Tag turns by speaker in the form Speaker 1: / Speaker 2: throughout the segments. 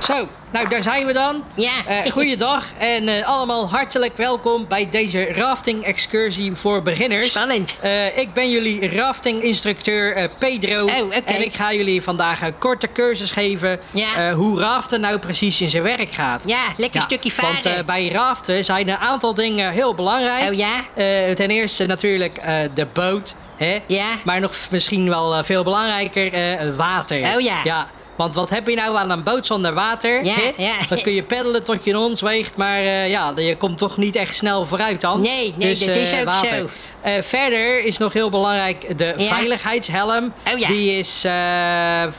Speaker 1: Zo, nou daar zijn we dan.
Speaker 2: Ja.
Speaker 1: Eh, goeiedag en eh, allemaal hartelijk welkom bij deze rafting excursie voor beginners.
Speaker 2: Spannend.
Speaker 1: Eh, ik ben jullie rafting instructeur eh, Pedro.
Speaker 2: Oh, oké.
Speaker 1: En ik ga jullie vandaag een korte cursus geven
Speaker 2: Ja.
Speaker 1: eh, hoe raften nou precies in zijn werk gaat.
Speaker 2: Ja, lekker
Speaker 1: Ja,
Speaker 2: stukje varen.
Speaker 1: Want eh, bij raften zijn een aantal dingen heel belangrijk.
Speaker 2: Oh ja?
Speaker 1: Eh, ten eerste natuurlijk eh, de boot. Hè?
Speaker 2: Ja.
Speaker 1: Maar nog f- misschien wel eh, veel belangrijker, eh, water.
Speaker 2: Oh ja.
Speaker 1: ja. Want wat heb je nou aan een boot zonder water?
Speaker 2: Ja,
Speaker 1: hè?
Speaker 2: ja.
Speaker 1: Dan kun je peddelen tot je een ons weegt, maar eh, ja, je komt toch niet echt snel vooruit dan.
Speaker 2: Nee, nee,
Speaker 1: dus,
Speaker 2: dat
Speaker 1: eh,
Speaker 2: is ook
Speaker 1: water.
Speaker 2: zo.
Speaker 1: Eh, verder is nog heel belangrijk de
Speaker 2: Ja.
Speaker 1: veiligheidshelm.
Speaker 2: Oh ja.
Speaker 1: Die is eh,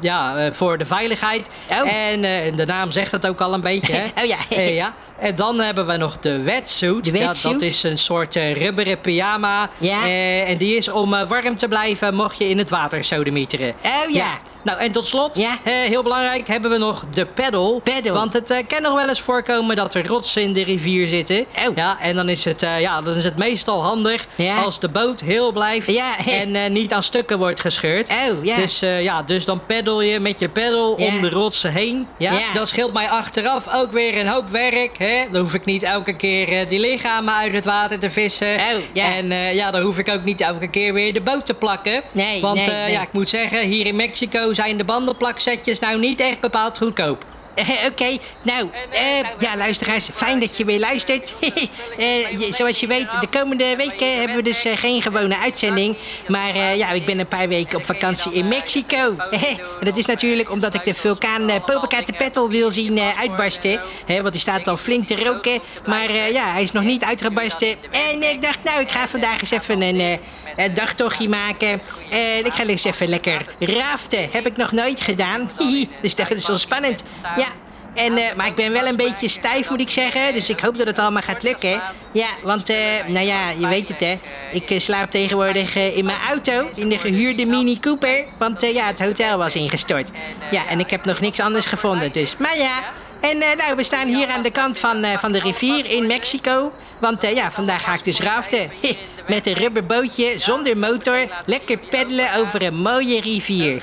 Speaker 1: ja, eh, voor de veiligheid.
Speaker 2: Oh.
Speaker 1: En eh, de naam zegt het ook al een beetje. Hè?
Speaker 2: Oh ja.
Speaker 1: Eh, ja. En dan hebben we nog de wetsuit.
Speaker 2: De
Speaker 1: Ja, dat
Speaker 2: wetsuit?
Speaker 1: is een soort eh, rubberen pyjama.
Speaker 2: Ja.
Speaker 1: Eh, en die is om eh, warm te blijven mocht je in het water sodemieteren.
Speaker 2: Oh ja.
Speaker 1: Nou, en tot slot,
Speaker 2: Ja.
Speaker 1: eh, heel belangrijk, hebben we nog de paddle.
Speaker 2: Paddle.
Speaker 1: Want het eh, kan nog wel eens voorkomen dat er rotsen in de rivier zitten.
Speaker 2: Oh.
Speaker 1: Ja, en dan is, het, eh, ja, dan is het meestal handig
Speaker 2: Ja.
Speaker 1: als de boot heel blijft
Speaker 2: Ja.
Speaker 1: en eh, niet aan stukken wordt gescheurd.
Speaker 2: Oh, ja.
Speaker 1: Dus, eh, ja, dus dan paddel je met je paddle
Speaker 2: Ja.
Speaker 1: om de rotsen heen. Ja?
Speaker 2: Ja.
Speaker 1: Dat scheelt mij achteraf ook weer een hoop werk. Hè? Dan hoef ik niet elke keer eh, die lichamen uit het water te vissen.
Speaker 2: Oh, ja.
Speaker 1: En eh, ja, dan hoef ik ook niet elke keer weer de boot te plakken.
Speaker 2: Nee,
Speaker 1: Want
Speaker 2: nee,
Speaker 1: eh,
Speaker 2: nee.
Speaker 1: ja, ik moet zeggen, hier in Mexico zijn de bandenplaksetjes nou niet echt bepaald goedkoop.
Speaker 2: Oké, nou, eh, ja, luisteraars, fijn dat je weer luistert. Eh, je- zoals je weet, de komende weken hebben we dus eh, geen gewone uitzending. Maar eh, ja, ik ben een paar weken op vakantie in Mexico. en dat is natuurlijk omdat ik de vulkaan eh, Popocatépetl wil zien eh, uitbarsten. Hè, want die staat al flink te roken. Maar eh, ja, hij is nog niet uitgebarsten. En ik dacht, nou, ik ga vandaag eens even een eh, eh, dagtochtje maken. En ik ga eens even lekker raften. Heb ik nog nooit gedaan. dus dat is wel spannend. Ja. En, eh, maar ik ben wel een beetje stijf, moet ik zeggen. Dus ik hoop dat het allemaal gaat lukken. Ja, want, eh, nou ja, je weet het, hè. Ik eh, slaap tegenwoordig eh, in mijn auto, in de gehuurde Mini Cooper. Want, eh, ja, het hotel was ingestort. Ja, en ik heb nog niks anders gevonden, dus. Maar ja, en eh, nou, we staan hier aan de kant van, eh, van de rivier in Mexico. Want, eh, ja, vandaag ga ik dus raften. Met een rubberbootje, zonder motor, lekker peddelen over een mooie rivier.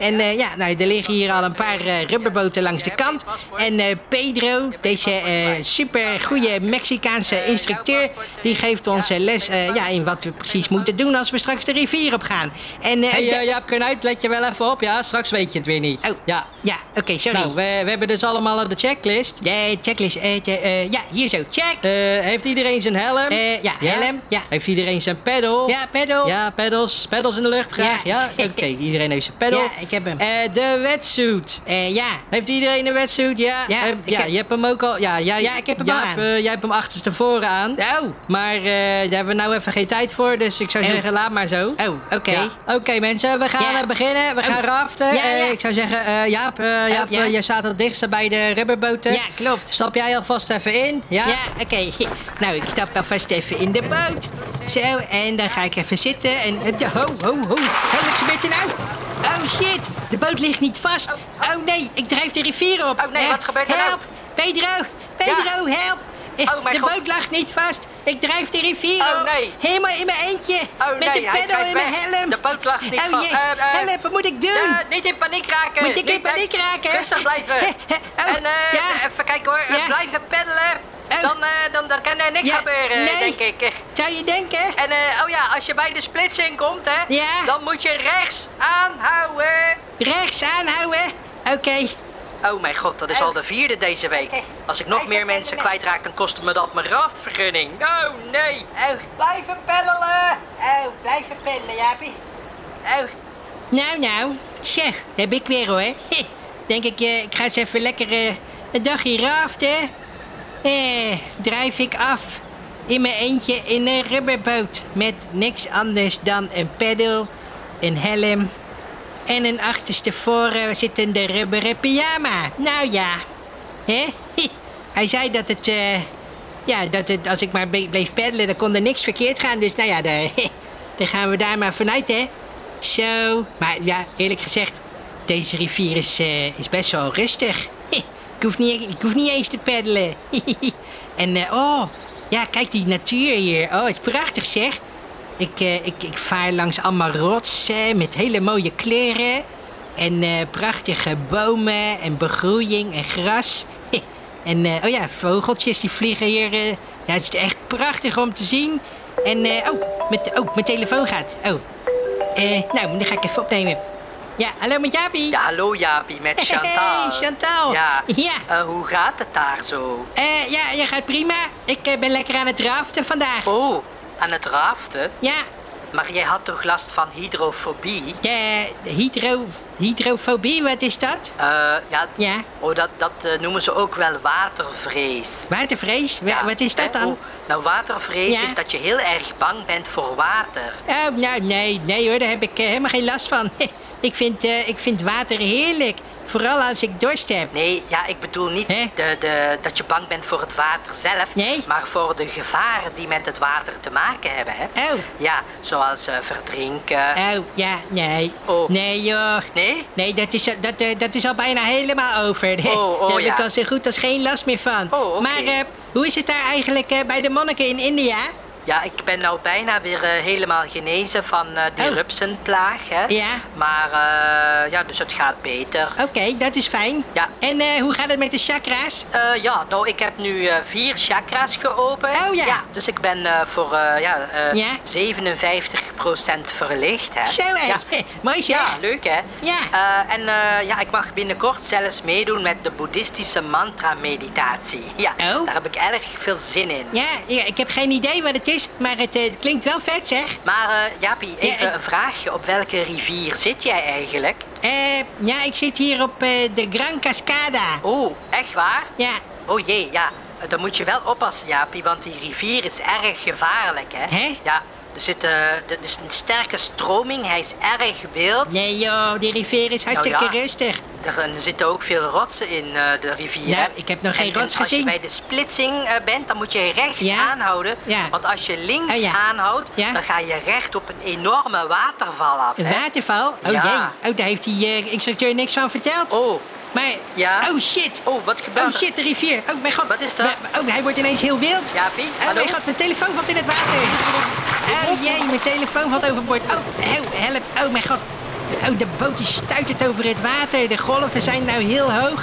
Speaker 2: en eh, ja, nou, er liggen hier al een paar eh, rubberboten langs de kant. En eh, Pedro, deze eh super goede Mexicaanse instructeur, die geeft ons eh, les eh, ja, in wat we precies moeten doen als we straks de rivier op gaan. En, eh,
Speaker 1: Hey,
Speaker 2: de-
Speaker 1: eh, Jaap Kornuit, let je wel even op, ja? Straks weet je het weer niet.
Speaker 2: Oh.
Speaker 1: Ja.
Speaker 2: ja, oké, sorry.
Speaker 1: Nou, we, we hebben dus allemaal de checklist.
Speaker 2: Eh, checklist, eh, eh, eh, ja, hier zo, check.
Speaker 1: Eh, heeft iedereen zijn helm?
Speaker 2: Eh, ja, helm, ja.
Speaker 1: Heeft iedereen zijn pedal?
Speaker 2: ja, pedal.
Speaker 1: Ja, pedals. Pedals in de lucht graag. Ja,
Speaker 2: Ja.
Speaker 1: oké. Iedereen heeft zijn pedal.
Speaker 2: Ja, ik heb hem.
Speaker 1: Eh, de wetsuit.
Speaker 2: Eh, ja.
Speaker 1: Heeft iedereen een wetsuit? Ja.
Speaker 2: Ja,
Speaker 1: Eh,
Speaker 2: ik
Speaker 1: ja
Speaker 2: heb-
Speaker 1: je hebt hem ook al. Ja, jij,
Speaker 2: Ja, ik heb hem
Speaker 1: Jaap,
Speaker 2: al aan.
Speaker 1: eh, jij hebt hem achterstevoren aan.
Speaker 2: Oh,
Speaker 1: Maar eh, daar hebben we nou even geen tijd voor, dus ik zou
Speaker 2: Oh.
Speaker 1: zeggen, laat maar zo.
Speaker 2: oh, oké.
Speaker 1: Ja. Oké mensen, we gaan
Speaker 2: Ja.
Speaker 1: eh, beginnen. We
Speaker 2: Oh.
Speaker 1: gaan raften.
Speaker 2: Ja,
Speaker 1: Eh,
Speaker 2: ja.
Speaker 1: ik zou zeggen, eh, Jaap, eh, Jaap
Speaker 2: ja.
Speaker 1: eh, jij staat het dichtste bij de rubberboten.
Speaker 2: Ja, klopt.
Speaker 1: Stap jij alvast even in? Ja.
Speaker 2: Ja, oké. Nou, ik stap alvast even in de boot. Zo, en dan ga ik even zitten en... eh, Ho, ho, ho. Hé, wat gebeurt er nou? Oh, shit. De boot ligt niet vast. Oh, nee. Ik drijf de rivier op.
Speaker 1: Oh, nee,
Speaker 2: Eh,
Speaker 1: wat gebeurt er nou?
Speaker 2: Help. Pedro. Pedro, help. Eh,
Speaker 1: Oh, mijn
Speaker 2: de
Speaker 1: God.
Speaker 2: boot lag niet vast. Ik drijf de rivier
Speaker 1: Oh,
Speaker 2: op.
Speaker 1: nee.
Speaker 2: Helemaal in mijn eentje.
Speaker 1: Oh,
Speaker 2: Met
Speaker 1: nee,
Speaker 2: een
Speaker 1: hij
Speaker 2: peddel
Speaker 1: drijft
Speaker 2: in mijn
Speaker 1: weg.
Speaker 2: helm.
Speaker 1: De boot lag niet
Speaker 2: oh,
Speaker 1: vast.
Speaker 2: jee.
Speaker 1: Eh, eh,
Speaker 2: help, wat moet ik doen?
Speaker 1: Ja, niet in paniek raken.
Speaker 2: Moet ik in
Speaker 1: Niet-
Speaker 2: paniek raken?
Speaker 1: Rustig blijven.
Speaker 2: Oh,
Speaker 1: en eh,
Speaker 2: ja.
Speaker 1: even kijken hoor.
Speaker 2: Ja.
Speaker 1: Blijven peddelen.
Speaker 2: Oh.
Speaker 1: Dan, eh, dan, dan kan er niks
Speaker 2: Ja,
Speaker 1: gebeuren,
Speaker 2: nee.
Speaker 1: denk ik.
Speaker 2: Zou je denken?
Speaker 1: En eh, oh ja, als je bij de splitsing komt, hè,
Speaker 2: Ja.
Speaker 1: dan moet je rechts aanhouden.
Speaker 2: Rechts aanhouden. Oké.
Speaker 1: Oh mijn god, dat is al de vierde deze week. Als ik nog meer mensen kwijtraak, dan kost me dat mijn raftvergunning. Oh nee.
Speaker 2: Oh,
Speaker 1: Blijven peddelen.
Speaker 2: oh, blijf verpennen, Jaapie. Oh. Nou, nou. Tja, heb ik weer hoor. Heh, Denk ik, eh, ik ga eens even lekker eh, een dagje raften. Eh, drijf ik af in mijn eentje in een rubberboot. Met niks anders dan een peddel, een helm en een achterstevoren zittende rubberen pyjama. Nou ja. Hè? Hij zei dat het... eh, ja, dat het, als ik maar be- bleef peddelen, dan kon er niks verkeerd gaan. Dus nou ja, daar, daar gaan we daar maar vanuit, hè. Zo. Maar ja, eerlijk gezegd, deze rivier is, eh, is best wel rustig. Ik hoef niet, ik hoef niet eens te peddelen. En eh, oh, ja, kijk die natuur hier. Oh, het is prachtig, zeg. Ik, eh, ik, ik vaar langs allemaal rotsen met hele mooie kleuren. En eh, prachtige bomen en begroeiing en gras. En eh, oh ja, vogeltjes die vliegen hier. eh. ja, het is echt prachtig om te zien. En eh, oh, met, oh, mijn telefoon gaat. Oh. Eh, nou, dan ga ik even opnemen. Ja, hallo met Jaapie.
Speaker 1: Ja, hallo Jaapie, met Chantal.
Speaker 2: Hey, Chantal.
Speaker 1: Ja.
Speaker 2: Ja.
Speaker 1: Eh, hoe gaat het daar zo?
Speaker 2: Eh, ja, je gaat prima. Ik eh, ben lekker aan het raften vandaag.
Speaker 1: Oh, aan het raften?
Speaker 2: Ja,
Speaker 1: Maar jij had toch last van hydrofobie?
Speaker 2: eh, hydro, hydrofobie, wat is dat?
Speaker 1: Eh, ja,
Speaker 2: Ja.
Speaker 1: Oh, dat, dat eh, noemen ze ook wel watervrees.
Speaker 2: Watervrees? Wa-
Speaker 1: Ja.
Speaker 2: Wat is dat
Speaker 1: Eh,
Speaker 2: dan?
Speaker 1: oh, nou, watervrees
Speaker 2: Ja.
Speaker 1: is dat je heel erg bang bent voor water.
Speaker 2: Oh, nou, nee, nee hoor, daar heb ik eh, helemaal geen last van. ik, vind, eh, ik vind water heerlijk. Vooral als ik dorst heb.
Speaker 1: Nee, ja, ik bedoel niet
Speaker 2: Hè?
Speaker 1: de, de, dat je bang bent voor het water zelf,
Speaker 2: Nee?
Speaker 1: maar voor de gevaren die met het water te maken hebben. Hè?
Speaker 2: Oh,
Speaker 1: Ja, zoals eh, verdrinken.
Speaker 2: oh, ja, nee.
Speaker 1: Oh.
Speaker 2: Nee joh.
Speaker 1: Nee?
Speaker 2: Nee, dat is, al- dat, eh, dat is al bijna helemaal over.
Speaker 1: Oh, oh,
Speaker 2: daar heb ik
Speaker 1: ja.
Speaker 2: al zo goed als geen last meer van.
Speaker 1: Oh, oké.
Speaker 2: Maar eh, hoe is het daar eigenlijk eh, bij de monniken in India?
Speaker 1: Ja, ik ben nou bijna weer eh, helemaal genezen van eh, die
Speaker 2: Oh.
Speaker 1: rupsenplaag. Hè?
Speaker 2: Ja.
Speaker 1: Maar, eh, ja, dus het gaat beter.
Speaker 2: Oké, dat is fijn.
Speaker 1: Ja.
Speaker 2: En eh, hoe gaat het met de chakra's?
Speaker 1: Eh, ja, nou, ik heb nu eh, vier chakra's geopend.
Speaker 2: Oh, ja.
Speaker 1: dus ik ben eh, voor eh, ja, eh,
Speaker 2: Ja.
Speaker 1: 57% verlicht. Hè.
Speaker 2: Zo hè.
Speaker 1: Ja.
Speaker 2: Mooi zeg.
Speaker 1: Ja, leuk hè?
Speaker 2: Ja.
Speaker 1: Eh, en eh, ja, ik mag binnenkort zelfs meedoen met de boeddhistische mantra-meditatie. Ja,
Speaker 2: Oh.
Speaker 1: daar heb ik erg veel zin in.
Speaker 2: Ja, ja, ik heb geen idee wat het is, maar het, eh, het klinkt wel vet zeg.
Speaker 1: Maar eh Jaapie, even
Speaker 2: ik-
Speaker 1: een vraagje. Op welke rivier zit jij eigenlijk?
Speaker 2: Eh, ja, ik zit hier op eh, de Gran Cascada.
Speaker 1: Oh, echt waar?
Speaker 2: Ja,
Speaker 1: Oh jee, ja. Dan moet je wel oppassen, Jaapie, want die rivier is erg gevaarlijk, hè?
Speaker 2: Hè?
Speaker 1: Ja, er zit, eh, er is een sterke stroming, hij is erg wild.
Speaker 2: nee joh, die rivier is hartstikke
Speaker 1: Nou ja.
Speaker 2: rustig.
Speaker 1: Er, eh, zitten ook veel rotsen in eh, de rivier.
Speaker 2: Nou,
Speaker 1: hè?
Speaker 2: ik heb nog
Speaker 1: En-
Speaker 2: geen
Speaker 1: en
Speaker 2: rots
Speaker 1: Als
Speaker 2: gezien.
Speaker 1: je bij de splitsing eh, bent, dan moet je rechts
Speaker 2: Ja.
Speaker 1: aanhouden.
Speaker 2: Ja.
Speaker 1: Want als je links
Speaker 2: Oh, ja.
Speaker 1: aanhoudt,
Speaker 2: Ja.
Speaker 1: dan ga je recht op een enorme waterval af.
Speaker 2: Een
Speaker 1: hè?
Speaker 2: waterval? Oh
Speaker 1: Ja.
Speaker 2: jee, oh, daar heeft die eh, instructeur niks van verteld.
Speaker 1: Oh,
Speaker 2: Maar,
Speaker 1: Ja?
Speaker 2: oh shit.
Speaker 1: oh, wat gebeurt
Speaker 2: Oh
Speaker 1: er?
Speaker 2: shit, de rivier. Oh mijn god.
Speaker 1: Wat is dat?
Speaker 2: Maar- Oh, hij wordt ineens heel wild.
Speaker 1: Jaapie,
Speaker 2: Oh
Speaker 1: hallo?
Speaker 2: mijn god, mijn telefoon valt in het water. Oh jee, mijn telefoon valt overboord. Oh, oh, help. Oh mijn god. Oh, de boot die stuitert over het water. De golven zijn nou heel hoog.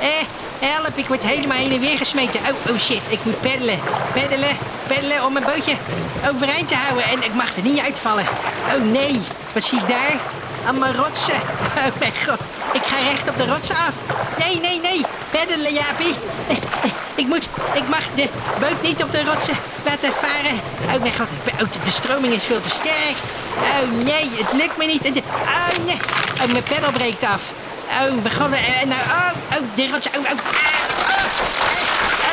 Speaker 2: Eh, help, ik word helemaal heen en weer gesmeten. Oh, oh shit, ik moet peddelen. Peddelen, peddelen om mijn bootje overeind te houden. En ik mag er niet uitvallen. Oh nee, wat zie ik daar? Allemaal rotsen. Oh mijn god, ik ga recht op de rotsen af. Nee, nee, nee, peddelen, Jaapie. Ik moet, ik mag de boot niet op de rotsen laten varen. Oh mijn god, ik ben- oh, de- de stroming is veel te sterk. Oh nee, het lukt me niet. De- Oh nee, oh, mijn peddel breekt af. Oh, we gaan, eh, nou, oh, oh, de rotsen, oh, oh, ah, oh, eh,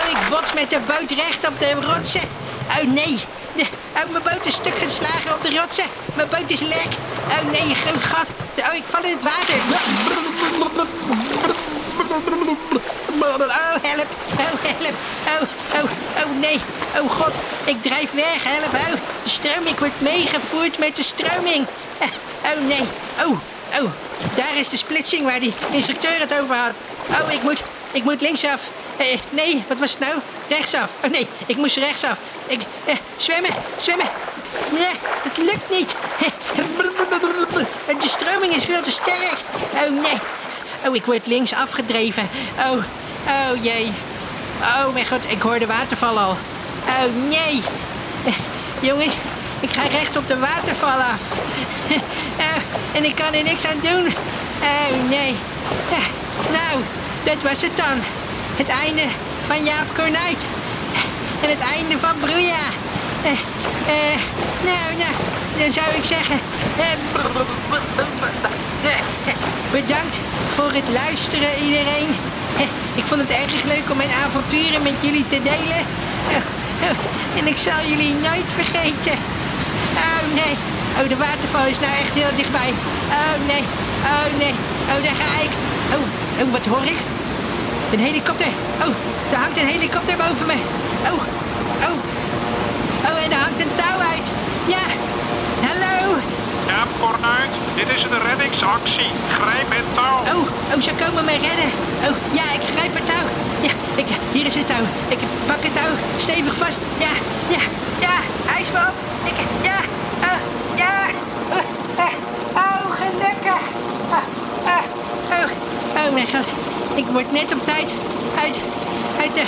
Speaker 2: oh, ik bots met de boot recht op de rotsen. Oh nee, de, oh, mijn boot is stuk geslagen op de rotsen. Mijn boot is lek. Oh nee, een groot gat. Oh, ik val in het water. Oh, help. Oh, help. Oh, oh, oh, nee. Oh, god. Ik drijf weg. Help. Oh, de stroming. Ik word meegevoerd met de stroming. Eh, Oh, nee. Oh, oh. Daar is de splitsing waar die instructeur het over had. Oh, ik moet, ik moet linksaf. Eh, nee, wat was het nou? Rechtsaf. Oh, nee. Ik moest rechtsaf. Ik, eh, zwemmen. Zwemmen. Nee, het lukt niet. Eh, De stroming is veel te sterk. Oh, nee. Oh, ik word links afgedreven. Oh, oh jee. Oh mijn god, ik hoor de waterval al. Oh nee. Eh, Jongens, ik ga recht op de waterval af. Eh, en ik kan er niks aan doen. Oh nee. Eh, nou, dat was het dan. Het einde van Jaap Kornuit. En het einde van Broeja. Eh, eh, nou, nou, dan zou ik zeggen... eh, Bedankt voor het luisteren, iedereen. Ik vond het erg leuk om mijn avonturen met jullie te delen. En ik zal jullie nooit vergeten. Oh nee. Oh, de waterval is nou echt heel dichtbij. Oh nee. Oh nee. Oh, daar ga ik. Oh, oh wat hoor ik? Een helikopter. Oh, daar hangt een helikopter boven me. Oh, oh. Oh, en er hangt een touw uit. Ja. Hallo.
Speaker 3: Ja, Cornuit, dit is de reddingsactie. Grijp het touw.
Speaker 2: Oh, oh, ze komen mij redden. Oh, ja, ik grijp het touw. Ja, ik, hier is het touw. Ik pak het touw stevig vast. Ja, ja, ja, hij is me op. Ik, ja, Eh, oh, ja. Oh, eh, oh gelukkig. Ah, ah, mijn god. Ik word net op tijd uit, uit, de,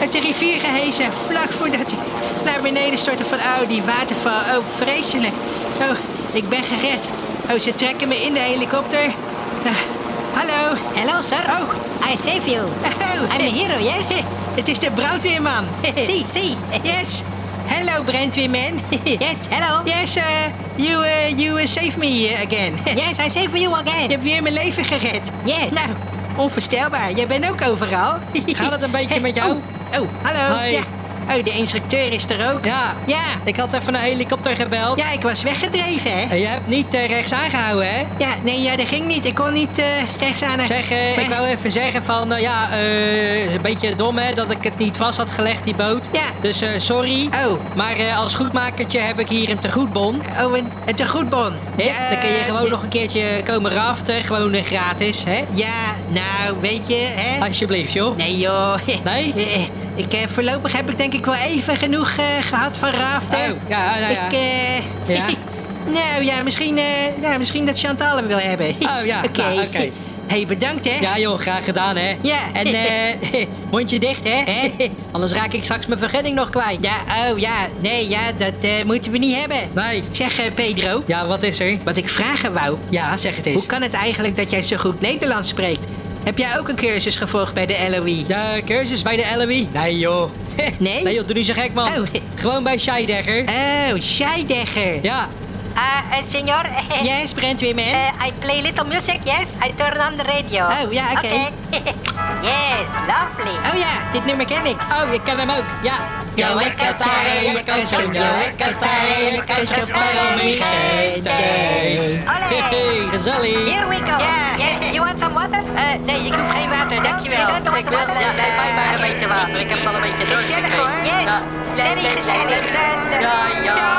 Speaker 2: uit de rivier gehezen. Vlak voordat ik naar beneden stortte van... Oh, die waterval. Oh, vreselijk. Oh, ik ben gered. Oh, ze trekken me in de helikopter. Ah, hallo.
Speaker 4: Hello, sir.
Speaker 2: Oh,
Speaker 4: I save you.
Speaker 2: oh.
Speaker 4: I'm a hero, yes?
Speaker 2: Het is de brandweerman.
Speaker 4: See, see.
Speaker 2: Yes. Hello, brandweerman.
Speaker 4: Yes, hello.
Speaker 2: Yes, eh, you, eh, you eh, saved me eh, again.
Speaker 4: Yes, I save you
Speaker 2: Je
Speaker 4: again.
Speaker 2: hebt weer mijn leven gered.
Speaker 4: Yes.
Speaker 2: Nou, onvoorstelbaar. Jij bent ook overal.
Speaker 5: Gaat het een beetje met jou?
Speaker 2: Oh, oh, hallo.
Speaker 5: Hoi.
Speaker 2: Ja. Oh, de instructeur is er ook.
Speaker 5: Ja,
Speaker 2: Ja.
Speaker 5: ik had even een helikopter gebeld.
Speaker 2: Ja, ik was weggedreven, hè?
Speaker 5: En jij hebt niet eh, rechts aangehouden, hè?
Speaker 2: Ja, nee, ja, dat ging niet. Ik kon niet eh rechts aan.
Speaker 5: Zeg, eh, ik wou even zeggen van, nou ja, eh, is een beetje dom hè, dat ik het niet vast had gelegd, die boot.
Speaker 2: Ja.
Speaker 5: Dus eh, sorry.
Speaker 2: Oh.
Speaker 5: Maar eh, als goedmakertje heb ik hier een tegoedbon.
Speaker 2: Oh, een, een goedbon.
Speaker 5: Hè?
Speaker 2: Ja,
Speaker 5: Dan kun je gewoon
Speaker 2: eh,
Speaker 5: nog een keertje komen raften, gewoon eh, gratis, hè?
Speaker 2: Ja, nou, weet je, hè?
Speaker 5: Alsjeblieft, joh.
Speaker 2: Nee, joh.
Speaker 5: Nee?
Speaker 2: Eh, Ik, eh, voorlopig heb ik denk ik wel even genoeg eh, gehad van raften.
Speaker 5: Oh, ja, nou ja.
Speaker 2: Ik, eh...
Speaker 5: Ja?
Speaker 2: nou ja, misschien, eh, nou, misschien dat Chantal hem wil hebben.
Speaker 5: Oh, ja.
Speaker 2: Oké.
Speaker 5: Nou, oké.
Speaker 2: hey, bedankt, hè?
Speaker 5: Ja joh, graag gedaan hè.
Speaker 2: Ja.
Speaker 5: En eh, mondje dicht hè.
Speaker 2: Hè?
Speaker 5: Anders raak ik straks mijn vergunning nog kwijt.
Speaker 2: Ja, oh ja, nee, ja, dat eh, moeten we niet hebben.
Speaker 5: Nee.
Speaker 2: Zeg, eh, Pedro,
Speaker 5: Ja, wat is er?
Speaker 2: wat ik vragen wou.
Speaker 5: Ja, zeg het eens.
Speaker 2: Hoe kan het eigenlijk dat jij zo goed Nederlands spreekt? Heb jij ook een cursus gevolgd bij de LOE?
Speaker 5: De cursus bij de LOE? Nee joh.
Speaker 2: Nee?
Speaker 5: Nee joh, doe niet zo gek man.
Speaker 2: Oh.
Speaker 5: Gewoon bij Scheidegger.
Speaker 2: Oh, Scheidegger.
Speaker 5: Ja.
Speaker 4: Ah,
Speaker 1: Eh,
Speaker 4: uh, senor.
Speaker 2: Yes, Brandweerman.
Speaker 4: Eh, I play little music, yes. I turn on the radio.
Speaker 2: Oh, ja, oké.
Speaker 4: yes, lovely.
Speaker 2: Oh ja, dit nummer ken ik.
Speaker 5: Oh, ik ken hem ook. Ja.
Speaker 2: Ja,
Speaker 5: Ja,
Speaker 2: ik kan taren, je kan zo, ja, ik kan taren, je kan zo,
Speaker 5: Hallo,
Speaker 2: Palomie, geen idee.
Speaker 4: Allee.
Speaker 5: Hey, gezellig.
Speaker 4: Here we go.
Speaker 2: Ja.
Speaker 4: Yes, you want some water?
Speaker 2: Eh, nee, ik hoef geen water, dankjewel.
Speaker 4: Oh, je bent er wat
Speaker 1: Ik wil, ja, geef mij maar een beetje water. Ik heb wel een beetje dorst
Speaker 2: Gezellig,
Speaker 1: gekregen.
Speaker 2: hoor.
Speaker 4: Yes,
Speaker 1: Ja.
Speaker 4: very gezellig.
Speaker 1: Ja, ja.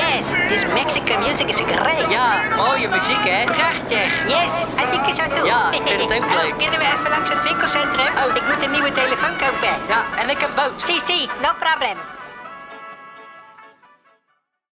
Speaker 4: Yes, this Mexican music is great.
Speaker 1: Ja, mooie muziek, hè?
Speaker 2: Prachtig.
Speaker 4: Yes, I think it's out too.
Speaker 1: Ja, ik vind het ook leuk.
Speaker 2: Oh, kunnen we even langs het winkelcentrum?
Speaker 1: Oh.
Speaker 2: Ik moet een nieuwe telefoon kopen.
Speaker 1: Ja, en ik heb boot.
Speaker 4: Si, si, no problem.